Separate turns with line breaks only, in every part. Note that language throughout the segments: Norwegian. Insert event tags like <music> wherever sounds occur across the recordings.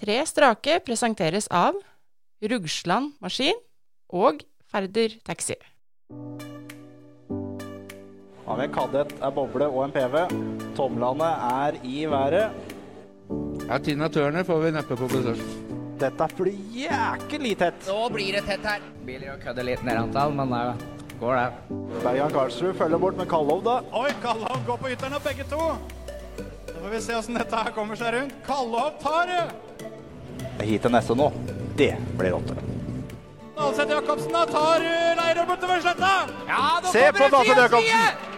Tre strake presenteres av Rugsland Maskin og Færder Taxi.
Har vi en kadett, en boble og en PV. Tomlene er i været.
Ja, Tina Turner får vi neppe på besøk.
Dette blir jækelig tett.
Nå blir det tett her. Biler å kødde litt ned antall, men det går det.
Bergan Karlsrud følger bort med Kallov, da.
Oi, Kallov går på ytteren av begge to. Da får vi se åssen dette her kommer seg rundt. Kallov tar det!
Hit til neste nå. Det blir åtte.
Dalseth Jacobsen da tar eh, Leirø bortover sletta. Ja, nå
Se på
kommer det
Dalseth
side,
Jacobsen!
side!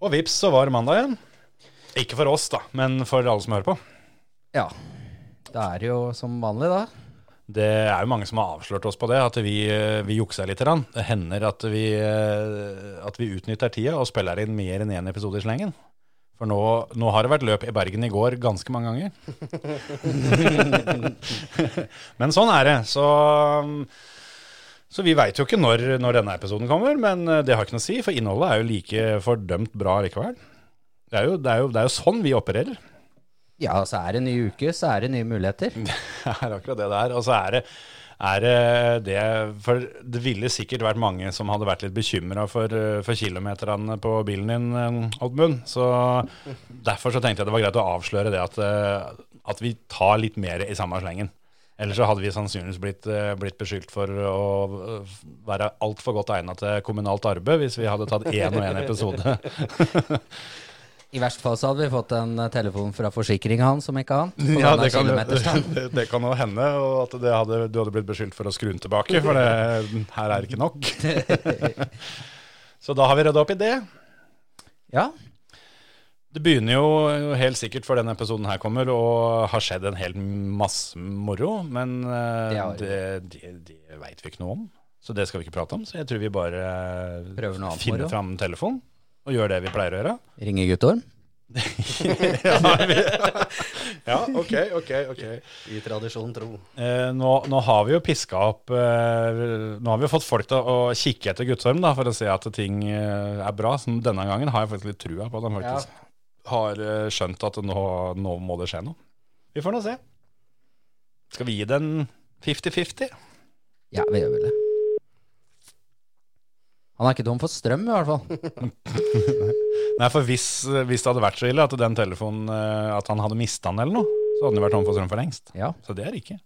Og vips, så var det mandag igjen. Ikke for oss, da, men for alle som hører på.
Ja. Da er det jo som vanlig, da.
Det er jo mange som har avslørt oss på det, at vi, eh, vi jukser litt. grann. Det hender at vi, eh, at vi utnytter tida og spiller inn mer enn én episode i slengen. For nå, nå har det vært løp i Bergen i går ganske mange ganger. <laughs> men sånn er det. Så, mm, så vi veit jo ikke når, når denne episoden kommer, men eh, det har ikke noe å si, for innholdet er jo like fordømt bra likevel. Det er jo, det er jo, det er jo sånn vi opererer.
Ja, så er det ny uke, så er det nye muligheter.
<laughs> Det er akkurat det det er. Og så er det, er det det For det ville sikkert vært mange som hadde vært litt bekymra for, for kilometerne på bilen din, eh, Oddmund. Så derfor så tenkte jeg det var greit å avsløre det at, eh, at vi tar litt mer i samme slengen. Ellers så hadde vi sannsynligvis blitt, eh, blitt beskyldt for å eh, være altfor godt egna til kommunalt arbeid hvis vi hadde tatt én og én episode.
I verste fall så hadde vi fått en eh, telefon fra forsikringa hans, om ikke annet. på
Ja,
grunn av
det kan,
kilometerstand.
<laughs> det, det kan også hende, og at det hadde, du hadde blitt beskyldt for å skru den tilbake, for det, her er det ikke nok.
<laughs>
Så da har vi rydda opp i det.
Ja.
Det begynner jo helt sikkert før denne episoden her kommer, og har skjedd en hel masse moro, men eh,
Det har det.
det, det, det veit vi ikke noe om. Så det skal vi ikke prate om. Så jeg tror vi bare eh,
Prøver noe annet moro.
finner fram telefonen og gjør det vi pleier å gjøre.
Ringe Guttorm.
Ja, ok, ok, ok.
I tradisjon tro.
Eh, nå, nå har vi jo piska opp eh, Nå har vi jo fått folk til å kikke etter Guttorm da, for å se at ting eh, er bra. Så denne gangen har jeg faktisk litt trua på at han faktisk har eh, skjønt at nå, nå må det skje noe. Vi får nå se. Skal vi gi den 50-50?
Ja, vi gjør vel det. Han er ikke tom for strøm, i hvert fall.
Nei, for hvis, hvis det hadde vært så ille at den telefonen eh, At han hadde mista den eller noe, så hadde den jo vært tom for strøm for lengst.
Ja.
Så det er det ikke.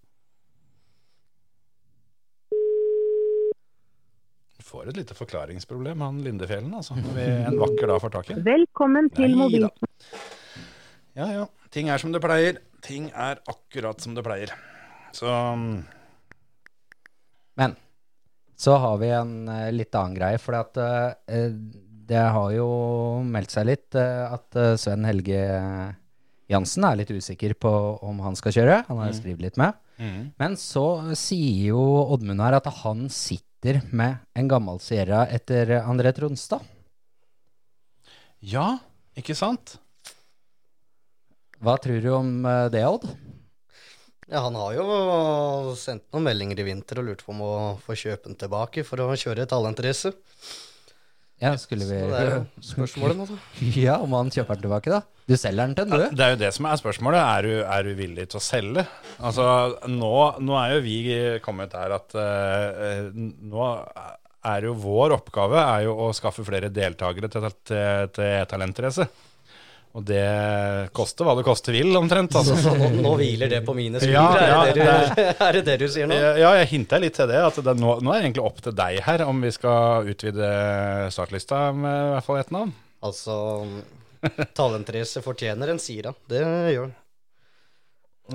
Du får et lite forklaringsproblem, han Lindefjellen, altså. Når vi en vakker dag får tak i.
Velkommen til
Nei
mobil...
da. Ja, ja. Ting er som det pleier. Ting er akkurat som det pleier. Så mm,
Men så har vi en eh, litt annen greie, for at, eh, det har jo meldt seg litt eh, at eh, Sven Helge Jansen er litt usikker på om han skal kjøre. Han har jo
Mm.
skrevet litt med. Men så sier jo Oddmund her at han sitter med en gammel Sierra etter André Tronstad.
Ja, ikke sant?
Hva tror du om eh, det, Odd?
Ja, han har jo sendt noen meldinger i vinter og lurt på om å få kjøpe den tilbake for å kjøre et allenterace.
Ja, skulle
Så det er jo
vi
spørsmålet altså. nå, da.
<laughs> Ja, om han kjøper den tilbake, da. Du selger den til
Ja,
den, du.
Det er jo det som er spørsmålet. Er du, er du villig til å selge? Altså, nå, nå er jo vi kommet der at eh, eh, nå er jo vår oppgave er jo å skaffe flere deltakere til, til, til e-talentrace. Og det koster hva det koste vil, omtrent. Altså.
<laughs> Så
<laughs>
nå, nå hviler det på mine skuldre.
Ja, ja,
er, det det du, <laughs> er det det du sier nå?
Ja, jeg hinta litt til det. At det, nå, nå er det egentlig opp til deg her om vi skal utvide startlista med i hvert fall ett navn.
Altså, talenterace fortjener en Sira. Det gjør han.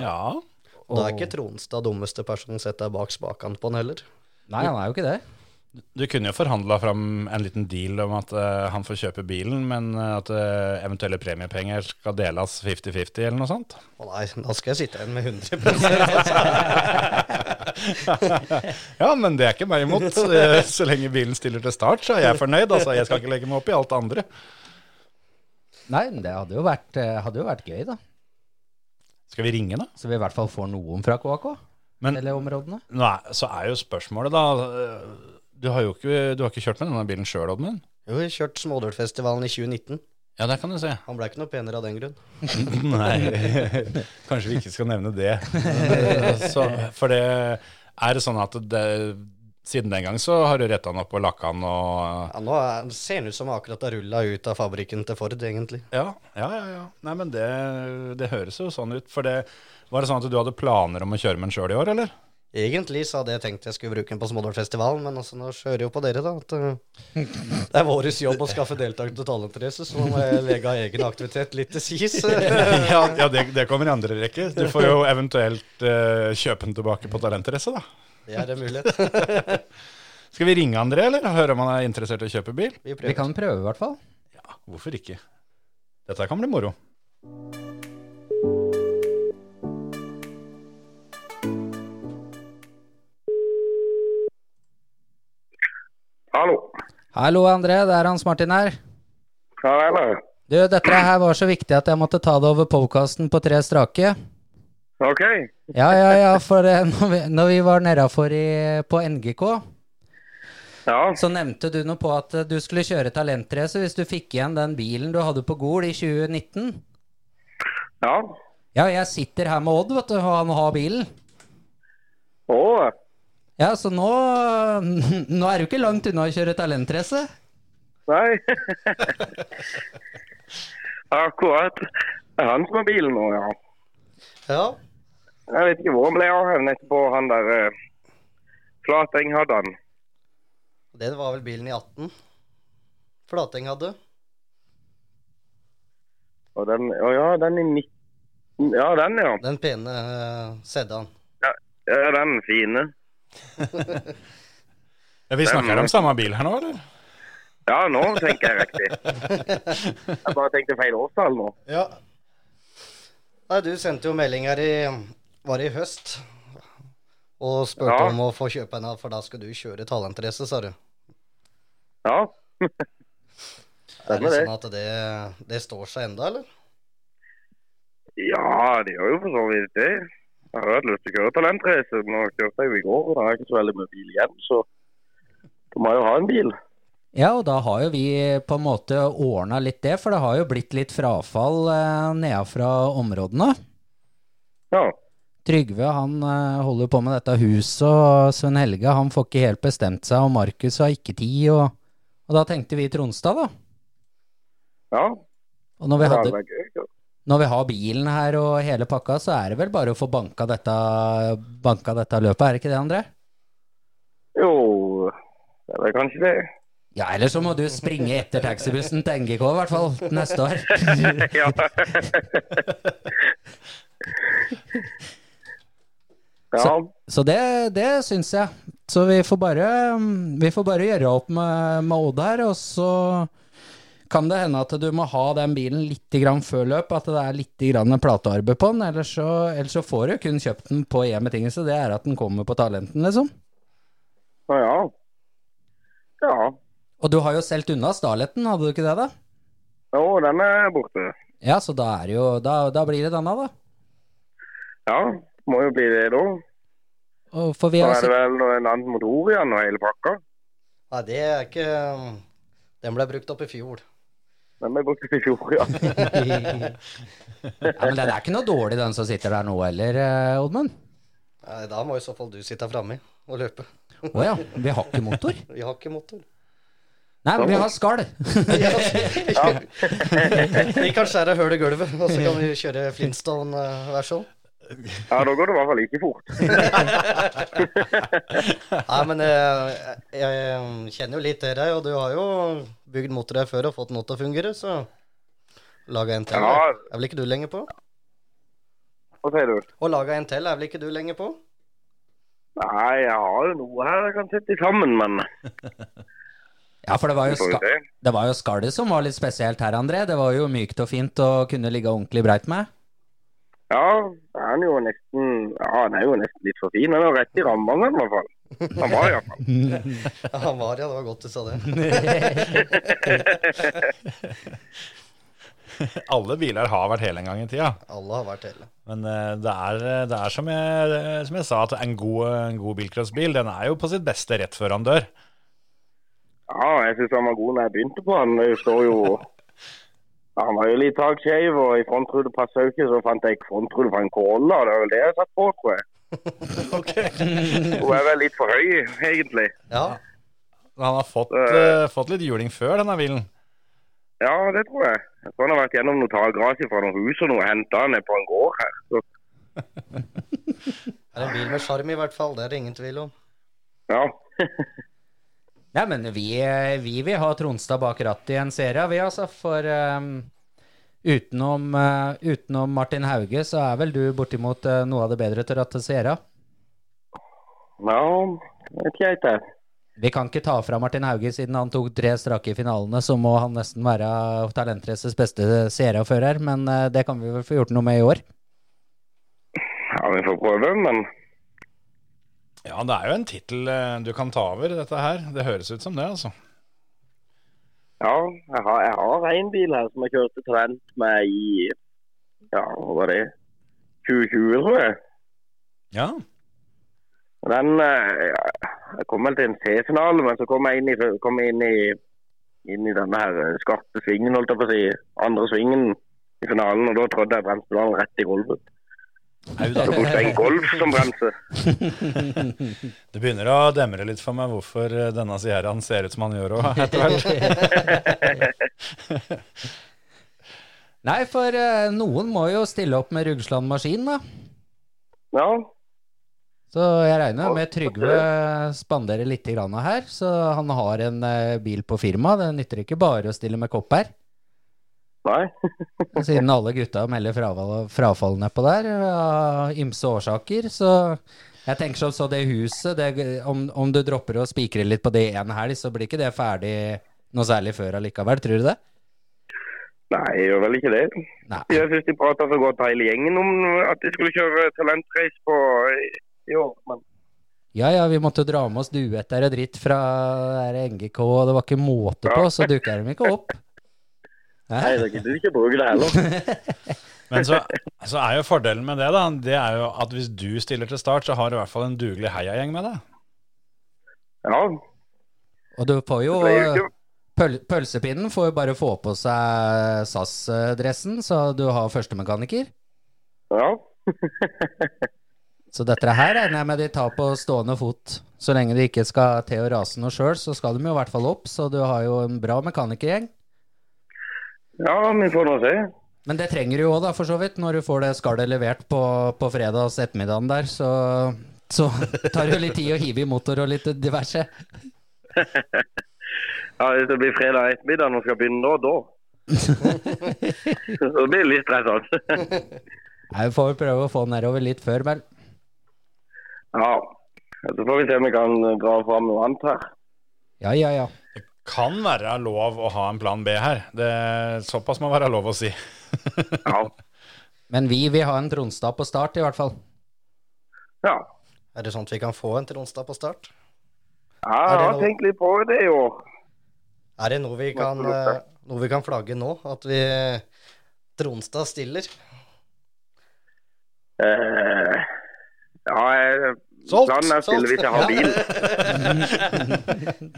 Ja.
Og da er ikke Tronstad dummeste person sett deg bak spakene på han heller.
Nei, han er jo ikke det.
Du kunne jo forhandla fram en liten deal om at eh, han får kjøpe bilen, men eh, at eh, eventuelle premiepenger skal deles 50-50 eller noe sånt.
Å nei, da skal jeg sitte igjen med
<laughs>
100 altså.
Ja, men det er ikke meg <laughs> imot. Eh, Så lenge bilen stiller til start, så er jeg fornøyd. Altså, jeg skal ikke legge meg opp i alt det andre.
Nei, men det hadde jo vært, eh, hadde jo vært gøy, da.
Skal vi ringe, da?
Så vi i hvert fall får noen fra KAK.
Men-
eller områdene.
Nå er, så er jo spørsmålet, da eh, Du har jo ikke, du har ikke kjørt med denne bilen sjøl, Oddmund?
Jo, vi har kjørt Smådølfestivalen i 2019.
Ja, der kan du se.
Han ble ikke noe penere av den grunn.
Nei, <laughs> kanskje vi ikke skal nevne <laughs> det. Så, for det er det sånn at det, siden den gang så har du retta den opp og lakka den og
Ja, nå er, ser han ut som akkurat har rulla ut av fabrikken til Ford, egentlig.
Ja, ja, ja. ja. Nei, men det, det høres jo sånn ut. For det Var det sånn at du hadde planer om å kjøre med den sjøl i år, eller?
Egentlig så hadde jeg tenkt jeg skulle bruke den på Smådalfestivalen, men altså, nå kjører jeg jo på dere, da. At, eh, det er vår jobb å skaffe deltakere til talentrace, så nå må jeg legge av egen aktivitet litt til
<laughs>
sies.
<laughs> ja, ja det, det kommer i andre rekke. Du får jo eventuelt eh, kjøpe den tilbake på Talentrace, da.
Det er en mulighet.
Skal vi ringe André, eller? og Høre om han er interessert i å kjøpe bil?
Vi
Vi
prøver.
kan prøve, i hvert fall.
Ja, hvorfor ikke? Dette kan bli moro.
Hallo.
Hallo, André. Det er Hans Martin her.
Ja vel, eh. ja.
Du, dette her var så viktig at jeg måtte ta det over podkasten på tre strake.
Ok.
Ja, ja, ja, for eh, når vi, når vi var nedafor i- på NGK,
Ja.
så nevnte du noe på at eh, du skulle kjøre talentrace hvis du fikk igjen den bilen du hadde på Gol i 2019.
Ja.
Ja, jeg sitter her med Odd, vet du, og han har bilen.
Å,
Ja, så nå, <laughs> nå er du ikke langt unna å kjøre talentrace.
nei. <laughs> Akkurat. Det er han som har bilen nå, ja.
Ja,
Jeg vet ikke hvor han ble avhevnet på han der eh, Flateng hadde han.
det var vel bilen i 18. Flateng hadde.
Og den, å ja, den i 19 Ja, den, ja.
Den pene uh, sedan.
ja den fine.
Ja, vi snakker om samme bil her nå, eller?
Ja, nå tenker jeg riktig. Jeg bare tenkte feil årstall nå.
Ja. Nei, du sendte jo melding her i Var det i høst? Og spurte
Ja.
om å få kjøpe en av, for da skal du kjøre talentrace, sa du.
Ja.
Er det
Stemmer det.
sånn at det, det står seg enda, eller?
Ja, det gjør jo for så vidt det. Jeg har hatt lyst til å kjøre talentrace. Nå kjørte jeg jo i går, og da har jeg ikke så veldig mye bil igjen, så da må jeg jo ha en bil.
Ja, og da har jo vi på en måte ordna litt det, for det har jo blitt litt frafall eh, nedafra områdene.
Ja.
Trygve han eh, holder på med dette huset, og Sven Helge han får ikke helt bestemt seg, og Markus har ikke tid. Og, og da tenkte vi Tronstad, da.
ja.
Og når vi,
det hadde
hadde,
vært gøy.
når vi har bilen her og hele pakka, så er det vel bare å få banka dette, banka dette løpet, er det ikke det, André?
Jo, det er vel kanskje det. <laughs>
Ja, eller så må du springe etter taxibussen til NGK, i hvert fall neste år.
<laughs> ja. ja.
<laughs> Så det, det syns jeg. Så vi får bare, vi får bare gjøre opp med, med Odd her, og så kan det hende at du må ha den bilen litt grann før løp, at det er litt grann platearbeid på den, ellers så, ellers så får du kun kjøpt den på én betingelse, det er at den kommer på talenten, liksom.
Ja, ja. Ja.
Og du har jo solgt unna Starletten, hadde du ikke det, da?
Jo, den er borte.
Ja, så da er det jo Da, da blir det denne, da.
Ja, må jo bli det da.
Og For vi har
Da er det
sett
vel noe- en annen motor igjen og hele pakka.
Nei, det er ikke eh, Den ble brukt opp i fjor.
Den ble brukt i
<laughs>
fjor, ja.
<laughs> Ja, men den er ikke noe dårlig, den som sitter der nå heller, eh, Oddmund.
Nei, da må i så fall du sitte framme og løpe.
Å ja, vi har ikke motor?
Vi har ikke
<laughs>
motor.
Nei, men vi har skall.
Vi kan skjære hull i gulvet, og så kan vi kjøre eh, Flintstone-versjon.
Ja, da går det i hvert fall ikke fort.
Nei, men jeg, jeg, jeg kjenner jo litt til deg, og du har jo bygd motor her før og fått den til å fungere, så laga en til.
Ja.
Er vel ikke du lenger på?
Hva sier du?
Og laga en til er vel ikke du lenger på? <laughs>
Nei, jeg har jo noe her jeg kan sette sammen, men
Ja, for det var
vi
jo
får jo
skall.
se.
Det var jo skallet som var litt spesielt her, André. Det var jo mykt og fint å kunne ligge ordentlig breit med.
Ja, han er jo nesten ja, han er jo nesten litt for fin. Han er rett i rammene, i hvert fall. Han var iallfall.
Ja, han var ja, det var godt du sa det.
Alle biler har vært hele en gang i tida.
Alle har vært hele.
Men eh, det er, det er som, jeg, eh, som jeg sa, at en god, eh, en god bilcrossbil den er jo på sitt beste rett før han dør.
Ja, jeg syns han var god da jeg begynte på han. Det står jo Ja, Han var jo litt takskeiv, og i frontrute passa jo ikke, så fant jeg frontrute fra en kåle, og det var vel det jeg satt på, tror jeg. Hun er vel litt for høy, egentlig.
Ja,
Han har fått,
Eh.
eh, fått litt juling før, denne bilen.
Ja, det tror jeg. Jeg tror han har vært gjennom noe taggras fra noen hus og noe, henta han ned på en gård her. Så,
er en bil med sjarm i hvert fall, det er det ingen tvil om.
ja.
Nei, men vi, vi vil ha Tronstad bak rattet i en serie, vi altså. For eh, utenom, eh, utenom Martin Hauge, så er vel du bortimot eh, noe av det bedre til rattet serie.
<laughs> ja, jeg vet ikke helt det.
Vi kan ikke ta fra Martin Hauge, siden han tok tre strake i finalene, så må han nesten være Talentraces beste seriefører. Men eh, det kan vi vel få gjort noe med i år.
Ja, vi får prøve, men
Ja, det er jo en tittel eh, du kan ta over, dette her. Det høres ut som det, altså.
ja, jeg har, jeg har en bil her som jeg kjørte talent med i ja, hva var det? 2020, tror jeg.
Ja.
Den eh, ja, Jeg kom vel til en C-finale, men så kom jeg inn i, kom jeg inn i, inn i denne her eh, skarpe svingen, holdt jeg på å si. Andre svingen i finalen, og da trådte jeg bremsepedalen rett i gulvet.
Au da.
Så brukte jeg en golf som bremse.
Det begynner å demre litt for meg hvorfor eh, denne Sierraen ser ut som han gjør òg, etter
<laughs>
hvert.
Nei, for eh, noen må jo stille opp med Rugsland Maskin, da.
Ja,
Så jeg regner med Trygve spanderer litt grann her, så han har en eh, bil på firma. Det nytter ikke bare å stille med kopp her,
nei.
siden alle gutta melder frafall, frafall nedpå der av ymse årsaker. Så jeg tenker som så det huset, det, om, om du dropper å spikre litt på det en helg, så blir ikke det ferdig noe særlig før allikevel, tror du det?
Nei, jeg gjør vel ikke det.
Nei.
Jeg syns de prata så godt hele gjengen om at de skulle kjøre talentrace på eh, i- i år, men
Ja ja, vi måtte dra med oss duetter og dritt fra der NGK, og det var ikke måte på, så dukka de ikke opp.
nei,
Hæ?
dere gidder ikke bruke det
<laughs>
heller.
Men så, så er jo fordelen med det, da, det er jo at hvis du stiller til start, så har du i hvert fall en dugelig heiagjeng med deg.
Ja,
Og du får jo
det ble
eh,
jo ikke
Pøl pølsepinnen får jo bare få på seg SAS-dressen, så du har førstemekaniker.
Ja. <laughs>
Så dette her regner jeg med de tar på stående fot. Så lenge de ikke skal til å rase noe sjøl, så skal de jo i hvert fall opp, så du har jo en bra mekanikergjeng.
ja, vi får nå se.
Men det trenger du jo òg, da, for så vidt. Når du får det skallet levert på, på fredags ettermiddagen der, så, så tar det jo litt tid å hive i motor og litt diverse.
Ja, Hvis det blir fredag ettermiddag når vi skal begynne da,
<laughs>
da. Så det blir litt altså.
<laughs>
stressende.
Nei, Vi får vel prøve å få den nedover litt før, vel.
Ja. Så får vi se om vi kan dra fram noe annet her.
Ja, ja, ja.
Det kan være lov å ha en plan B her. Det, såpass må være lov å si.
Ja.
Men vi vil ha en Tronstad på start, i hvert fall.
ja.
Er det sånn at vi kan få en til onsdag på start?
Jeg har tenkt litt på det i år.
Er det noe vi kan, eh, noe vi kan flagge nå? At vi Tronstad stiller?
Eh, ja, jeg,
Solgt,
planen er å stille
solgt.
hvis jeg har bil.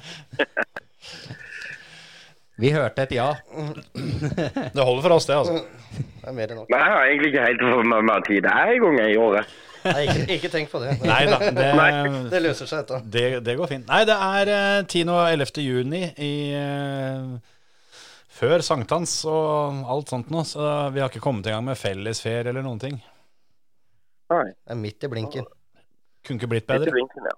Vi hørte et ja.
Det holder for oss, det, altså.
Det er mer enn nok.
Men jeg har egentlig ikke helt fått med meg tid det er i gang i året.
Nei, ikke, ikke tenk på det. Det,
Nei da. Det,
det løser seg, dette.
Det, det går fint. Nei, det er eh, 10. og 11. juni i, eh, før sankthans og alt sånt nå, så vi har ikke kommet i gang med fellesferie eller noen ting.
Det er midt i blinken.
Kunne ikke blitt
Litt i
bedre.
vinken, ja.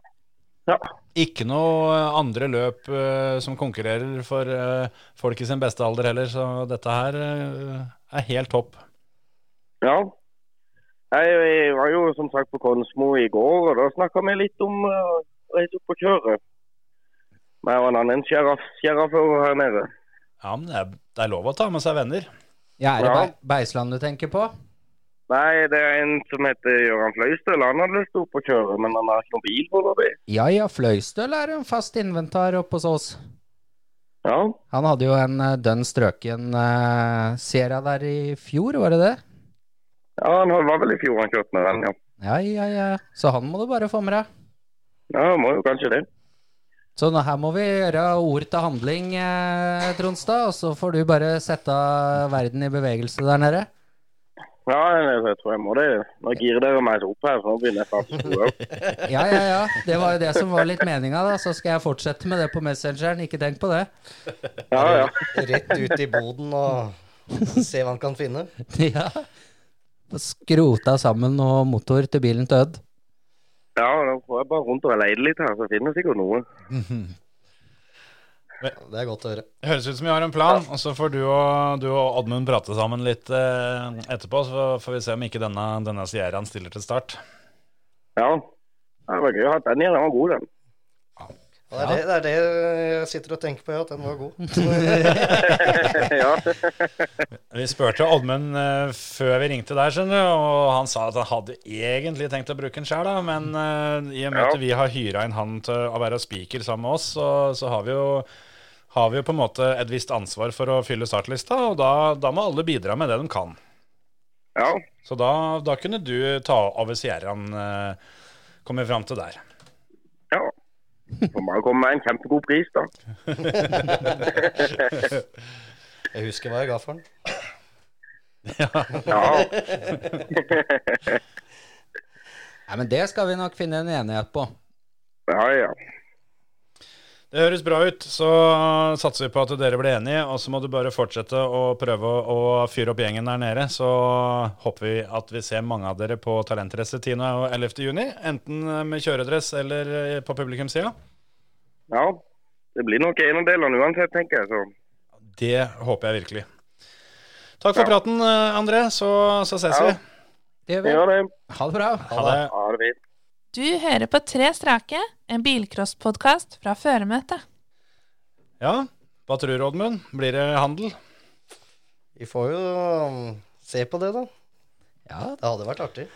Ja.
Ikke noe eh, andre løp eh, som konkurrerer for eh, folk i sin beste alder heller, så dette her eh, er helt topp.
ja. Jeg, jeg var jo som sagt på Konsmo i går, og da snakka vi litt om eh, å reise opp og kjøre. Men jeg var en annen sheriff, sherifffører her nede.
Ja, men det er, det er lov å ta med seg venner.
Ja, er det
Ja.
Bei- Beisland du tenker på?
Nei, det er en som heter Gøran Fløystøl. Han hadde lyst til å opp og kjøre, men han har ikke noen bil foreløpig.
Ja ja, Fløystøl er en fast inventar oppe hos oss.
Ja.
Han hadde jo en eh, dønn strøken uh, serie der i fjor, var det det?
ja, han var vel i fjor han kjørte med den, ja.
Ja ja ja, så han må du bare få med deg.
Ja, må jo kanskje det.
Så nå her må vi gjøre ord til handling, eh, Tronstad. Og så får du bare sette verden i bevegelse der nede.
Ja, jeg, jeg tror jeg må det. Nå girer dere meg så opp her, så nå begynner jeg snart å tro òg.
Ja, ja, ja. Det var jo det som var litt meninga, da. Så skal jeg fortsette med det på Messengeren. Ikke tenk på det.
Ja, ja.
Rett ut i boden og se hva han kan finne.
<laughs> Ja. Skrota sammen noe motor til bilen til Ødd.
Ja, nå får jeg bare rundt og leide litt her, så finner jeg sikkert noe.
Det er godt å høre.
Det høres ut som vi har en plan, og så får du og, du og Oddmund prate sammen litt eh, etterpå. Så får vi se om ikke denne, denne Sierraen stiller til start.
Ja. Det var gøy å ha den igjen. Den var god, den. <laughs>
Og det, er det, det er det jeg sitter og tenker på, ja, at den var god. <laughs>
ja.
Vi spurte Oddmund eh, før vi ringte der, skjønner du, og han sa at han hadde egentlig tenkt å bruke den sjøl, men eh, i og med
Ja.
at vi har hyra inn han til å være spiker sammen med oss, så, så har vi jo har vi jo på en måte et visst ansvar for å fylle startlista, og da, da må alle bidra med det de kan.
ja.
Så da, da kunne du ta over Sierraen, eh, kom vi fram til der.
Ja. Får bare komme med en kjempegod pris, da.
Jeg husker hva jeg ga for den.
Ja. <laughs>
Nei, men det skal vi nok finne en enighet på.
Ja, ja.
Det høres bra ut, så satser vi på at dere blir enige, og så må du bare fortsette å prøve å, å fyre opp gjengen der nede, så håper vi at vi ser mange av dere på Talentrace 10. og 11. juni, enten med kjøredress eller eh, på publikumsida.
ja. Det blir nok en av delene uansett, tenker jeg. Så.
Det håper jeg virkelig. Takk for praten, eh, André, så, så ses
Ja.
vi.
Det gjør
Vi
vi.
gjør det.
Ha det bra.
Ha det.
Ha det fint.
Du hører på Tre strake, en bilcrosspodkast fra føremøtet.
Ja, hva tror du, Oddmund? Blir det handel? <laughs>
Vi får jo um, se på det, da.
Ja,
Det hadde vært artig.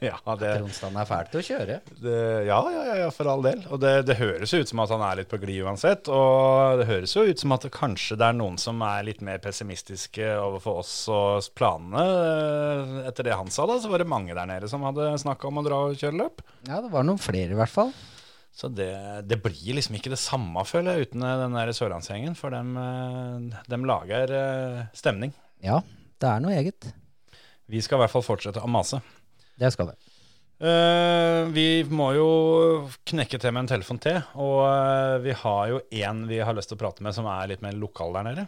ja, det,
Tronstad er fæl til å kjøre.
Det, ja, ja, ja, ja, for all del. Og det, det høres jo ut som at han er litt på glid uansett. Og det høres jo ut som at det kanskje det er noen som er litt mer pessimistiske overfor oss og planene. Etter det han sa, da, så var det mange der nede som hadde snakka om å dra og kjøre løp.
Ja, det var noen flere i hvert fall.
Så det, det blir liksom ikke det samme, føler jeg, uten eh, den der sørlandsgjengen. For dem, eh, dem lager eh, stemning.
Ja, det er noe eget.
Vi skal i hvert fall fortsette å mase.
Det skal vi.
Eh, vi må jo knekke til med en telefon til, og eh, vi har jo en vi har lyst til å prate med som er litt mer lokal der nede.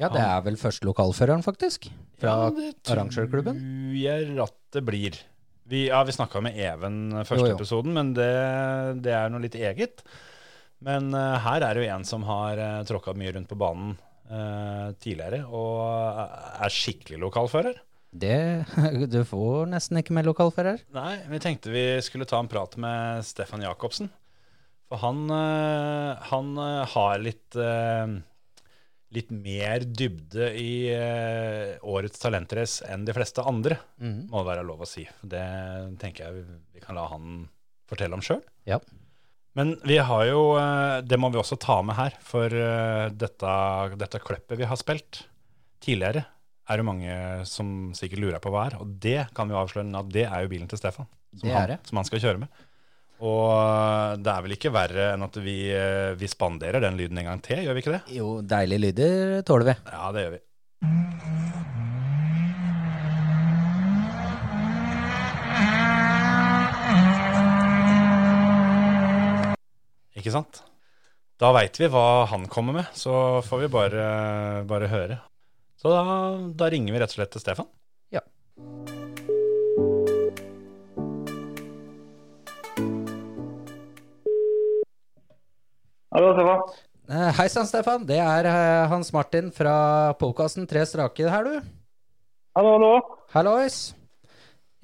Ja, det er vel første lokalføreren, faktisk. Fra
Ja, det
arrangørklubben.
Tror jeg at det blir. Vi, ja, vi snakka med Even første
Jo, jo.
episoden, men det, det er noe litt eget. Men eh, her er det jo en som har uh, tråkka mye rundt på banen eh, tidligere, og eh, er skikkelig lokalfører.
Det <laughs> Du får nesten ikke med lokalfører.
Nei, vi tenkte vi skulle ta en prat med Stefan Jacobsen. For han, eh, han eh, har litt eh, Litt mer dybde i eh, årets talentrace enn de fleste andre,
Mhm.
må det være lov å si. Det tenker jeg vi- vi kan la han fortelle om sjøl.
Ja.
Men vi har jo eh, Det må vi også ta med her, for eh, dette, dette kløppet vi har spilt tidligere, er det mange som sikkert lurer på hva er. Og det kan vi jo avsløre nå, at det er jo bilen til Stefan. Som,
Det er det.
Han, som han skal kjøre med. Og eh, det er vel ikke verre enn at vi, eh, vi spanderer den lyden en gang til, gjør vi ikke det?
Jo, deilige lyder tåler vi.
Ja, det gjør vi. Ikke sant? Da veit vi hva han kommer med, så får vi bare, bare høre. Så da, da ringer vi rett og slett til Stefan.
Ja.
Hallo, Stefan.
Eh, Hei sann, Stefan. Det er eh, Hans Martin fra podkasten Tre strake her, du.
Hallo, hallo.
Hallois.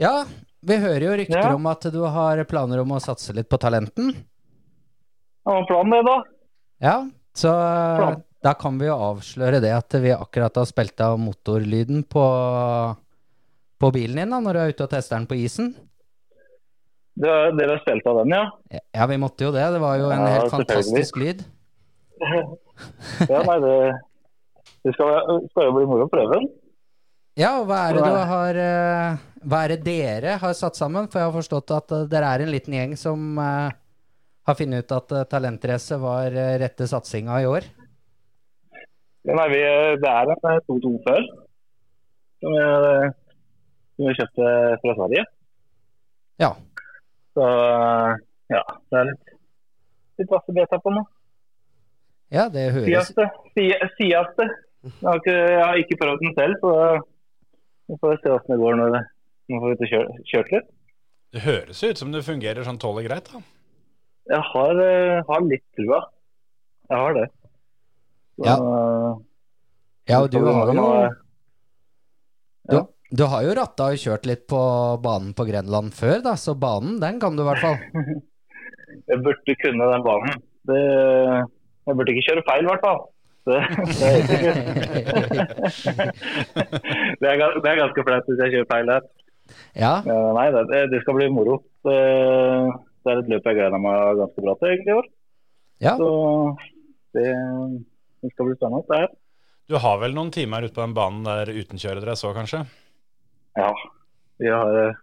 Ja, vi hører jo rykter
Ja.
om at du har planer om å satse litt på talenten.
Det var planen, det, da.
Ja, så eh,
Plan.
da kan vi jo avsløre det at vi akkurat har spilt av motorlyden på, på bilen din da, når du er ute og tester den på isen.
Dere har spilt av den, ja?
Ja, vi måtte jo det. Det var jo en
Ja,
helt
selvfølgelig.
fantastisk lyd.
Ja, nei, det, det skal, skal jo bli moro å prøve den.
Ja, og hva er det
Ja.
du har eh, Hva er det dere har satt sammen? For jeg har forstått at eh, dere er en liten gjeng som eh, har funnet ut at eh, talentrace var eh, rette satsinga i år?
Men nei, vi, det er en eh, 2-2 før, som vi, eh, som vi kjøpte fra Sverige.
Ja.
Så eh, ja, det er litt, litt vasse beta på nå.
Ja, det høres
Siaste. Sia- Siaste. Jeg har ikke, jeg har ikke prøvd den selv, så eh, vi får se hvordan det går når det, nå får vi ut og kjør- kjørt litt.
Det høres jo ut som det fungerer sånn tåler greit, da.
Jeg har, eh, har litt trua. Jeg har det. Så,
Ja.
eh,
Ja, og
så
du
vi
har
må
jo
nå-
du, du har jo ratta og kjørt litt på banen på Grenland før, da, så banen, den kan du i hvert fall.
Jeg burde kunne den banen. Det, jeg burde ikke kjøre feil, i hvert fall. Det, det, er helt sikkert. det, er, ga- det er ganske flaut hvis jeg kjører feil der.
<laughs> Ja, <laughs>
Eh, Nei, det, det skal bli moro. Det, det er et løp jeg gleder meg ganske bra til egentlig i år.
ja.
Så det, det skal bli spennende. Det her.
Du har vel noen timer ute på den banen der uten kjøredress òg, kanskje?
Ja. Vi har, eh,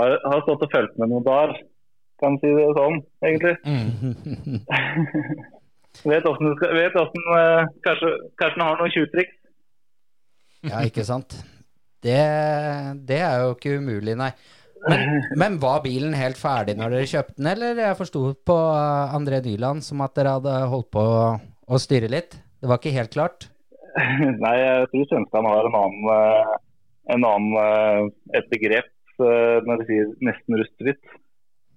har, har stått og fulgt med noen dager, kan si det sånn, egentlig. vet hvordan du skal Vet hvordan eh, Kanskje, kanskje han har noen tjuvtriks.
Ja, ikke sant? Det, det er jo ikke umulig, nei. Men, men var bilen helt ferdig når dere kjøpte den, eller? Jeg forsto på eh, André Nyland som at dere hadde holdt på å, å styre litt. Det var ikke helt klart?
<laughs> Nei, jeg tror svenskene har en annen, eh, en annen eh, et begrep eh, når de sier 'nesten rustfritt'.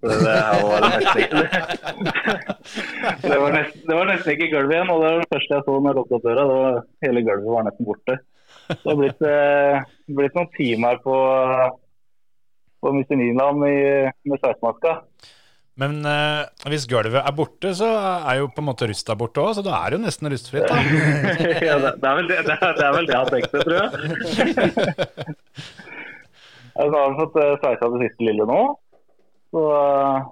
Så Det, her var nesten, ikke- <laughs> det, var nesten, det var nesten ikke gulv igjen. og Det var det første jeg så når jeg lukket opp døra. Det var, hele gulvet var nesten borte. Det har blitt, eh, blitt noen timer på, på Mr. Nyland i- med sveismaska.
Men eh, hvis gulvet er borte, så er jo på en måte rusta borte òg, så da er det jo nesten rustfritt, da.
<laughs> ja, det, det, er vel det, det, er, det er vel det han tenkte, <laughs> tror jeg. Ja, Så har han fått eh, sveisa det siste lille nå. Så eh,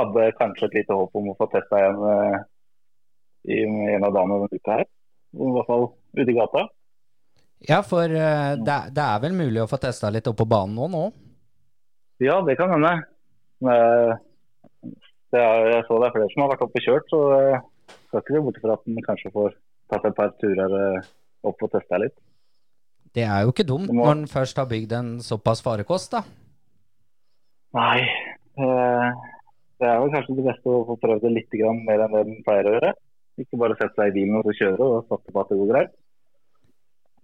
hadde jeg kanskje et lite håp om å få testa igjen eh, i en av damene denne uka her. I hvert fall ute i gata.
Ja, for eh, det, er- det er vel mulig å få testa litt opp på banen nå? nå?
Ja, det kan hende. Men, eh, Det er, jeg så det er flere som har vært oppe og kjørt, så eh, skal ikke se bort fra at en kanskje får tatt et par turer eh, opp og testa litt.
Det er jo ikke dumt
Det må-
når en først har bygd en såpass farekost, da.
Nei. eh, Det er vel kanskje det beste å få prøvd det litt grann mer enn det den pleier å gjøre. Ikke bare sette seg i bilen og så kjøre og satse på at det går greit.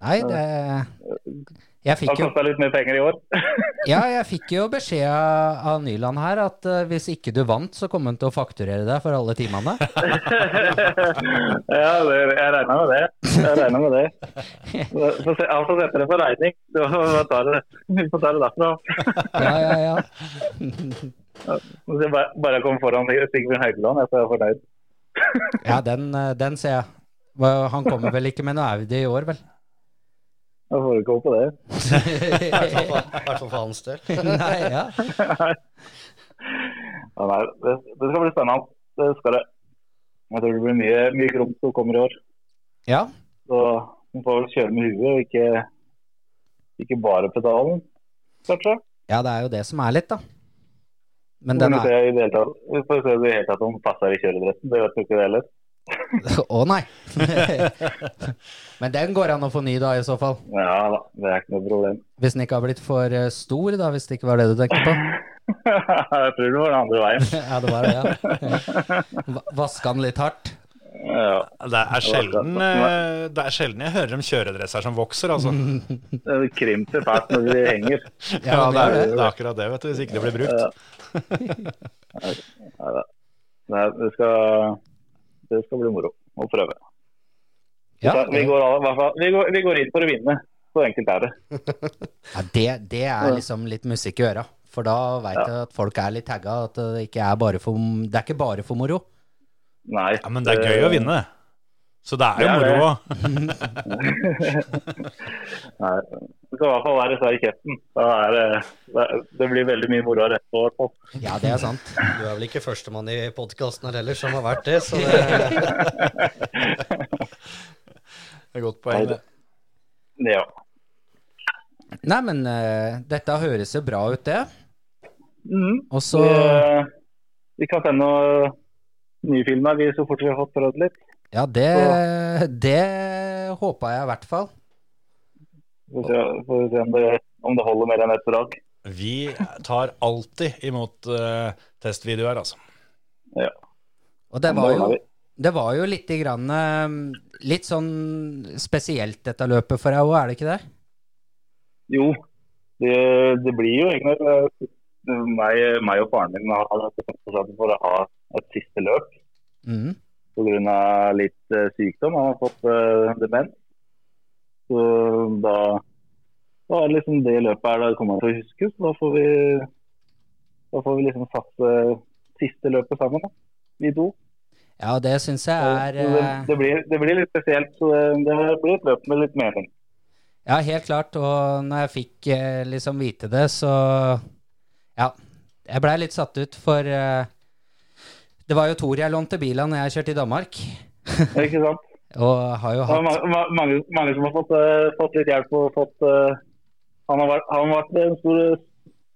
Nei, det Jeg
Det
fikk jo
kosta litt mer penger i år. <laughs>
Ja, jeg fikk jo beskjed av av Nyland her at eh, hvis ikke du vant, så kom han til å fakturere deg for alle timene.
ja, det, jeg regna med det. Jeg regner med det. Få se- Jeg får sette det på regning. Så tar det. Vi får ta det derfra.
Ja, ja, ja.
Så jeg bare- Bare jeg kommer foran Sigvin Haukeland, jeg, så er jeg fornøyd.
Ja, den, eh, den ser jeg. Hva- Han kommer vel ikke med noe Audi i år, vel?
Jeg får ikke håpe det.
I hvert fall for hans del.
Nei, ja.
Ja, nei, det, det skal bli spennende. Det skal det. Jeg tror det blir mye, mye grums som kommer i år.
ja.
Så man får vel kjøre med huet, og ikke, ikke bare pedalen, kanskje.
Ja, det er jo det som er litt, da. Men
Men
den
vi
er
ser i det hele tatt- vi får se i det hele tatt om den passer i kjøredressen. Det vet vi ikke det heller.
Å, nei. Men den går an å få ny, da, i så fall.
Ja da, det er ikke noe problem.
Hvis den ikke har blitt for eh, stor, da, hvis det ikke var det du tenkte på. <laughs>
jeg tror det var den andre veien.
Ja, det var det, ja. Va- Vaska den litt hardt.
Ja,
Det er sjelden, eh, det er sjelden jeg hører om kjøredresser som vokser, altså.
det krymper fælt når de henger.
<laughs> Ja, det er,
gjør
det er akkurat det, vet du. Hvis ikke det blir brukt.
Nei, det skal, det skal bli moro å prøve.
Ja,
Så vi,
det-
går, alle- i hvert fall- vi, går, vi går inn for å vinne. Så enkelt er det.
Ja, det, det er liksom litt musikk i øra. For da veit jeg at folk er litt tagga. At det ikke er bare for, det er ikke bare for moro.
Nei.
Ja, men det er gøy å vinne. Så Eh, det er jo
Ja, det-
moro òg.
Nei, det skal i hvert fall være især i kjeften. Da er det, det- det blir veldig mye moro av rette. i hvert fall.
Ja, det er sant.
Du er vel ikke førstemann i podkasten her heller som har vært det, så det,
Det er et godt poeng, det.
Ja.
Nei, men eh, dette høres jo bra ut, Mm. det.
Mhm.
Og så
Vi, eh, vi kan sende noe
nyfilma vi så fort vi har fått prøvd litt.
Ja, det, det håpa jeg i hvert fall.
Så får vi se- får vi se om det, om det holder mer enn ett drag.
Vi tar alltid imot eh, testvideoer, altså.
Og det var
Det
jo,
var vi.
det var jo litt, grann, eh, litt sånn spesielt dette løpet for deg òg, er det ikke det?
Jo, det, det blir jo egentlig eh, meg, meg og faren min har bestemt oss for å ha et siste løp
Mhm.
pga. litt eh, sykdom. Han har fått eh, demens. Så da, da er det liksom det løpet her det kommer han til å huske. Så da får vi, da får vi liksom satse siste løpet sammen, da. vi to.
Ja, og det syns jeg er
Så det,
eh,
det, blir, det blir litt spesielt. Så det, det blir et løp med litt mening.
Ja, helt klart. Og når jeg fikk eh, liksom vite det, så Ja. Jeg blei litt satt ut, for eh, det var jo Tor jeg lånte bil av når jeg kjørte i Danmark.
Ikke sant?
Og har jo
Det er
hatt
ma- ma- mange, mange som har fått, eh, fått litt hjelp og fått eh, Han har vært, han har vært en, stor,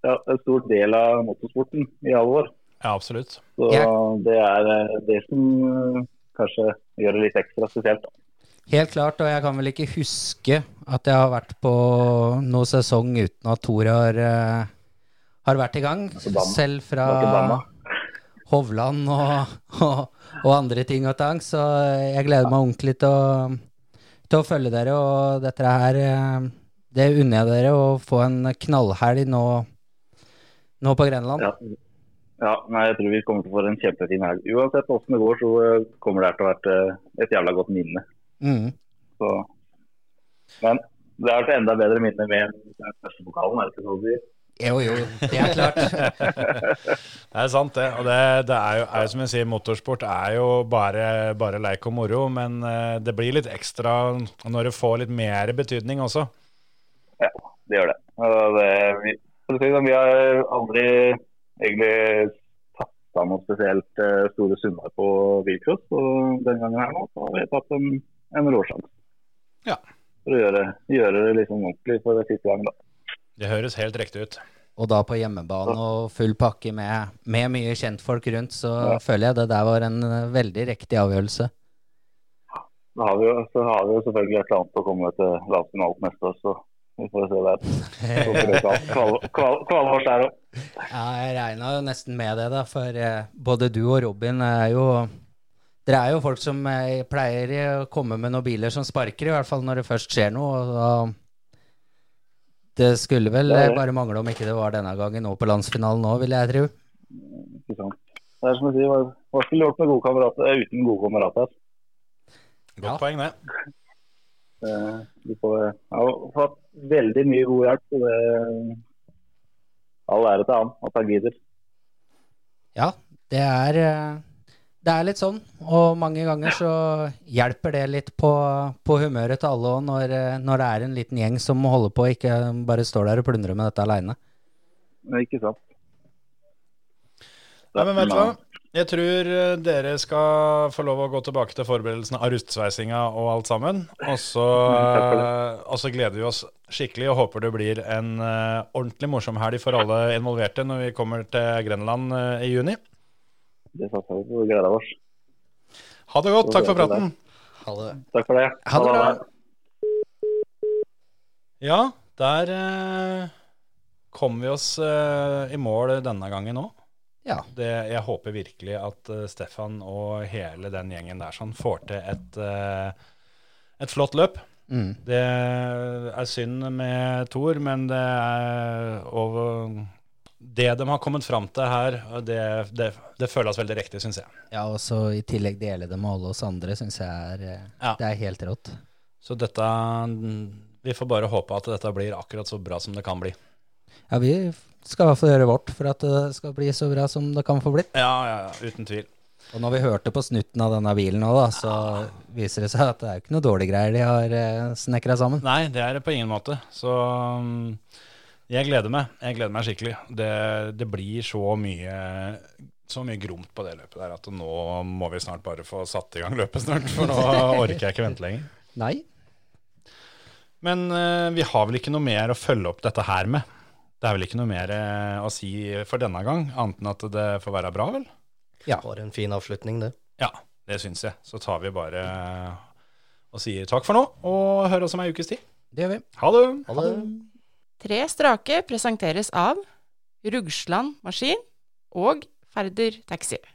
ja, en stor del av motorsporten i alle år.
Ja, absolutt.
Så
Ja.
det er eh, det som eh, kanskje gjør det litt ekstra spesielt. da.
Helt klart, og jeg kan vel ikke huske at jeg har vært på noen sesong uten at Tor har, eh, har vært i gang.
banna.
Selv
Det Altså, var ikke
fra
banna.
Hovland og, og, og andre ting og tang. Så eh, jeg gleder meg ordentlig til å, til å følge dere, og dette her eh, Det unner jeg dere å få en knallhelg nå, nå på Grenland.
Ja. Ja, nei, jeg tror vi kommer til å få en kjempefin helg. Uansett hvordan det går, så eh, kommer det her til å være
eh,
et- et jævla godt minne.
Mm.
Så. Men det er et enda bedre minne med den første pokalen, er det ikke så å si?
Jo, jo, det er
<laughs>
klart.
Det er sant, det. Og det, det er jo er, jo som jeg sier, motorsport er jo bare, bare leik og moro, men eh, det blir litt ekstra når det får litt mer betydning også.
Det gjør det. Og det vi, for å si det sånn, vi har aldri egentlig tatt av noe spesielt eh, store summer på bilcross. Og den gangen her nå så har vi tatt en, en råsjanse.
Ja.
For å gjøre, gjøre det liksom ordentlig for siste gang, da.
Det høres helt riktig ut.
Og da på hjemmebane og full pakke med, med mye kjentfolk rundt, så føler jeg det der var en eh, veldig riktig avgjørelse.
Da har vi jo, så har vi jo selvfølgelig et eller annet å komme til landsfinalen neste år, så vi får se der. Så får vi kval- kval- kval- Kvalvors der òg.
Jeg regna jo nesten med det, da, for eh, både du og Robin er jo Dere er jo folk som eh, pleier å komme med noen biler som sparker, i hvert fall når det først skjer noe. Og da Det skulle vel
Det er
eh,
det.
bare mangle om ikke det var denne gangen òg på landsfinalen òg, vil jeg tro.
Ikke sant. Det er som jeg sier, hva- hva skulle du gjort med gode kamerater eh, uten gode kamerater?
Godt
Ja.
poeng, det.
Eh, Du får, jeg har fått veldig mye god hjelp. Så det, all ære til han at han gidder.
Ja, det er, eh, det er litt sånn. Og mange ganger så hjelper det litt på, på humøret til alle òg, når, eh, når det er en liten gjeng som holder på og ikke bare står der og plundrer med dette aleine.
Men Ikke sant?
Nei, men vet du hva? Jeg tror eh, dere skal få lov å gå tilbake til forberedelsene av rustsveisinga og alt sammen. Og så,
Mm, takk for
eh, og så gleder vi oss skikkelig og håper det blir en eh, ordentlig morsom helg for alle involverte når vi kommer til Grenland eh, i juni.
Det satser vi på. Vi gleder oss.
Ha det godt. Takk for
gleder vi
praten.
Ha det.
Takk for det.
Ha det bra.
Ja, der eh, kom vi oss eh, i mål denne gangen òg.
Ja.
Det, jeg håper virkelig at eh, Stefan og hele den gjengen der sånn får til et, eh, et flott løp.
Mm.
Det er synd med Thor, men det er og Det de har kommet fram til her, det, det, det føles veldig riktig, syns jeg.
Ja, og så i tillegg dele det med alle oss andre, syns jeg er, eh,
Ja.
det er helt rått.
Så dette Vi får bare håpe at dette blir akkurat så bra som det kan bli.
Ja, vi skal i hvert fall gjøre vårt for at det skal bli så bra som det kan få blitt.
Ja, ja, ja, uten tvil.
Og når vi hørte på snutten av denne bilen òg, da, så viser det seg at det er jo ikke noe dårlige greier de har snekra sammen.
Nei, det er det på ingen måte. Så um, jeg gleder meg. Jeg gleder meg skikkelig. Det, det blir så mye så mye gromt på det løpet der at nå må vi snart bare få satt i gang løpet snart, for nå orker jeg ikke vente lenger.
Nei.
Men eh, vi har vel ikke noe mer å følge opp dette her med? Det er vel ikke noe mer eh, å si for denne gang, annet enn at det får være bra, vel?
Ja.
Var en fin avslutning, det.
Ja, det syns jeg. Så tar vi bare eh, og sier takk for nå, og hører oss om ei ukes tid.
Det gjør vi.
Ha det!
Ha det.
Tre strake presenteres av Rugsland Maskin og Færder Taxi.